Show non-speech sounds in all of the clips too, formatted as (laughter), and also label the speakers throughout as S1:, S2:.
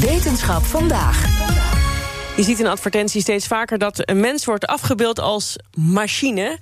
S1: Wetenschap vandaag.
S2: Je ziet in advertenties steeds vaker dat een mens wordt afgebeeld als machine.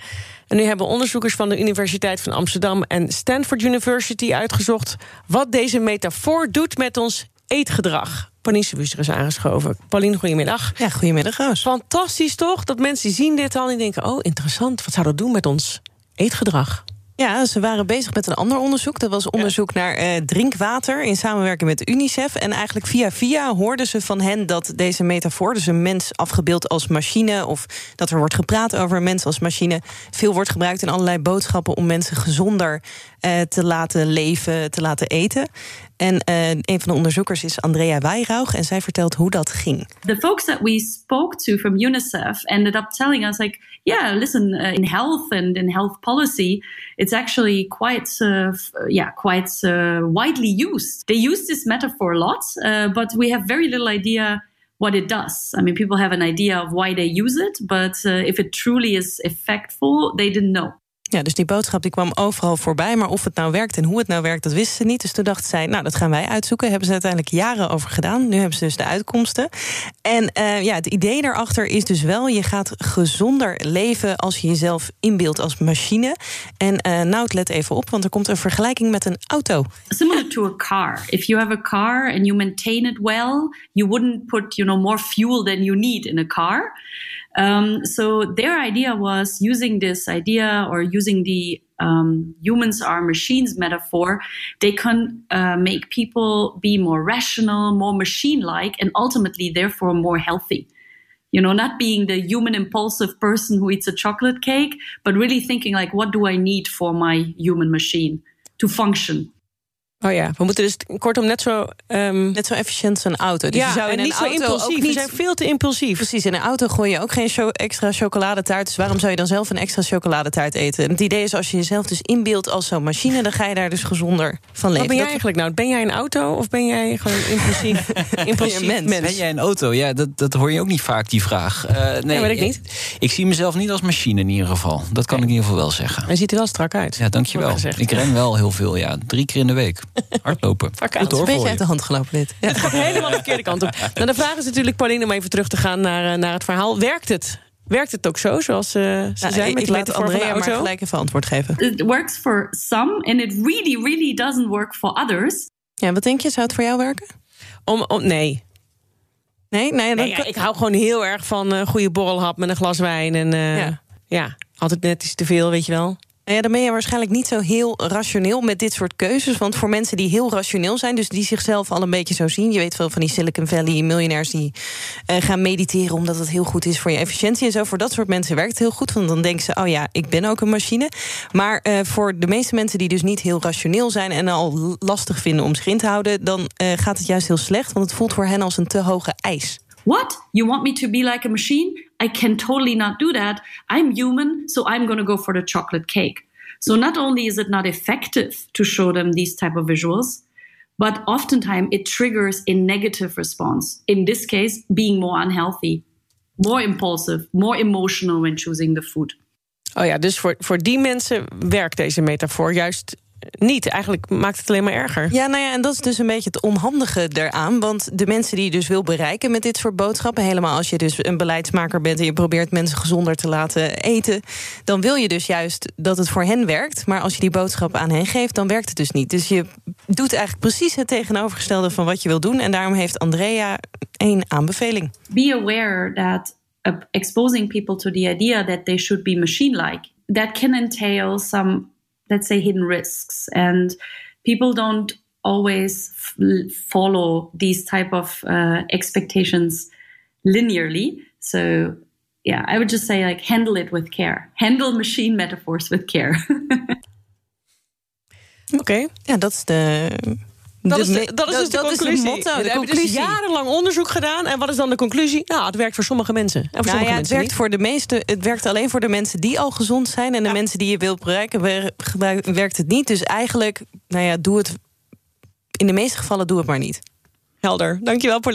S2: En nu hebben onderzoekers van de Universiteit van Amsterdam en Stanford University uitgezocht wat deze metafoor doet met ons eetgedrag. Pauline Sebuster is aangeschoven. Pauline, goedemiddag.
S3: Ja, goedemiddag Roos.
S2: Fantastisch toch dat mensen zien dit al en denken: oh, interessant, wat zou dat doen met ons eetgedrag?
S3: Ja, ze waren bezig met een ander onderzoek. Dat was onderzoek naar eh, drinkwater in samenwerking met UNICEF. En eigenlijk via via hoorden ze van hen dat deze metafoor, dus een mens afgebeeld als machine, of dat er wordt gepraat over een mens als machine, veel wordt gebruikt in allerlei boodschappen om mensen gezonder eh, te laten leven, te laten eten. En eh, een van de onderzoekers is Andrea Weirauch en zij vertelt hoe dat ging.
S4: The folks that we spoke to from UNICEF ended up telling us like, yeah, listen, uh, in health and in health policy, it's actually quite uh, yeah quite uh, widely used. They use this metaphor a lot, uh, but we have very little idea what it does. I mean, people have an idea of why they use it, but uh, if it truly is effectful, they didn't know.
S3: Ja, dus die boodschap die kwam overal voorbij. Maar of het nou werkt en hoe het nou werkt, dat wisten ze niet. Dus toen dachten zij, nou, dat gaan wij uitzoeken. Hebben ze uiteindelijk jaren over gedaan. Nu hebben ze dus de uitkomsten. En eh, ja, het idee daarachter is dus wel... je gaat gezonder leven als je jezelf inbeeldt als machine. En eh Nout, let even op, want er komt een vergelijking met een auto.
S4: Similar to a car. If you have a car and you maintain it well... you wouldn't put you know, more fuel than you need in a car... Um, so their idea was using this idea or using the um, humans are machines metaphor. They can uh, make people be more rational, more machine like, and ultimately, therefore, more healthy. You know, not being the human impulsive person who eats a chocolate cake, but really thinking like, what do I need for my human machine to function?
S2: Oh ja, we moeten dus kortom net zo, um,
S3: net zo efficiënt als een auto. Dus
S2: ja,
S3: je zou in
S2: en
S3: een
S2: niet
S3: auto
S2: zo impulsief.
S3: Ook niet...
S2: We zijn veel te impulsief.
S3: Precies, in een auto gooi je ook geen cho- extra chocoladetaart. Dus waarom zou je dan zelf een extra chocoladetaart eten? En het idee is, als je jezelf dus inbeeldt als zo'n machine... dan ga je daar dus gezonder van leven.
S2: Wat ben jij
S3: Dat-
S2: eigenlijk nou? Ben jij een auto of ben jij gewoon
S3: (laughs)
S2: impulsief, impulsief
S3: Een mens.
S2: mens?
S5: Ben jij een auto? Ja, dat, dat hoor je ook niet vaak, die vraag. Eh, nee,
S2: weet ik niet.
S5: Ik, ik zie mezelf niet als machine in ieder geval. Dat kan ik in ieder geval wel zeggen.
S2: Hij ziet er wel strak uit.
S5: Ja, dankjewel.
S2: Wordt gezegd.
S5: Ik ren wel heel veel, ja. Drie keer in de
S3: (laughs)
S5: week. Hardlopen.
S3: Het is een beetje uit de hand gelopen dit. Ja.
S2: Het gaat helemaal de verkeerde kant op. Nou, de vraag is natuurlijk, Pauline, om even terug te gaan naar, eh, naar het verhaal. Werkt het? Werkt het ook zo, zoals eh, ze
S3: Nou,
S2: zijn
S3: ik-
S2: met
S3: ik
S2: de
S3: laat
S2: metafoor van de
S3: Andrea maar
S2: auto?
S3: gelijk even antwoord geven.
S4: It works for some, and it really, really doesn't work for others.
S3: Ja, wat denk je? Zou het voor jou werken?
S2: Om, om, nee.
S3: Nee? nee, dan
S2: nee ja,
S3: kan-
S2: ik hou gewoon heel erg van een goede borrelhap met een glas wijn. En eh,
S3: Ja.
S2: ja. altijd net iets te veel, weet je wel.
S3: Nou ja, dan ben je waarschijnlijk niet zo heel rationeel met dit soort keuzes. Want voor mensen die heel rationeel zijn, dus die zichzelf al een beetje zo zien. Je weet veel van die Silicon Valley miljonairs die eh, gaan mediteren omdat het heel goed is voor je efficiëntie en zo. Voor dat soort mensen werkt het heel goed. Want dan denken ze, oh ja, ik ben ook een machine. Maar eh, voor de meeste mensen die dus niet heel rationeel zijn en al lastig vinden om zich in te houden, dan eh, gaat het juist heel slecht. Want het voelt voor hen als een te hoge eis.
S4: What? You want me to be like a machine? I can totally not do that. I'm human, so I'm going to go for the chocolate cake. So not only is it not effective to show them these type of visuals, but oftentimes it triggers a negative response. In this case, being more unhealthy, more impulsive, more emotional when choosing the food.
S2: Oh ja, dus voor, voor die mensen werkt deze metafoor juist niet. Eigenlijk maakt het alleen maar erger.
S3: Ja, nou ja, en dat is dus een beetje het onhandige daaraan. Want de mensen die je dus wil bereiken met dit soort boodschappen, helemaal als je dus een beleidsmaker bent en je probeert mensen gezonder te laten eten, dan wil je dus juist dat het voor hen werkt. Maar als je die boodschap aan hen geeft, dan werkt het dus niet. Dus je doet eigenlijk precies het tegenovergestelde van wat je wil doen. En daarom heeft Andrea één aanbeveling.
S4: be aware that uh, exposing people to the idea that they should be machine like that can entail some let's say hidden risks and people don't always f- follow these type of uh, expectations linearly so yeah i would just say like handle it with care handle machine (laughs) metaphors with care
S2: Oké.
S3: Ja, dat is de.
S2: Dat is, de,
S3: me-
S2: dat is dus de
S3: dat
S2: conclusie.
S3: het motto.
S2: We
S3: De
S2: hebben dus
S3: conclusie.
S2: jarenlang onderzoek gedaan. En wat is dan de conclusie? Nou, het werkt voor sommige mensen. En voor
S3: Nou ja,
S2: sommige
S3: het
S2: mensen
S3: werkt, voor de meeste, het werkt alleen voor de mensen die al gezond zijn. En de mensen die je wilt bereiken, wer- gebruik- werkt het niet. Dus eigenlijk, nou ja, doe het. In de meeste gevallen doe het maar niet.
S2: niet. Helder. Dankjewel, Paul.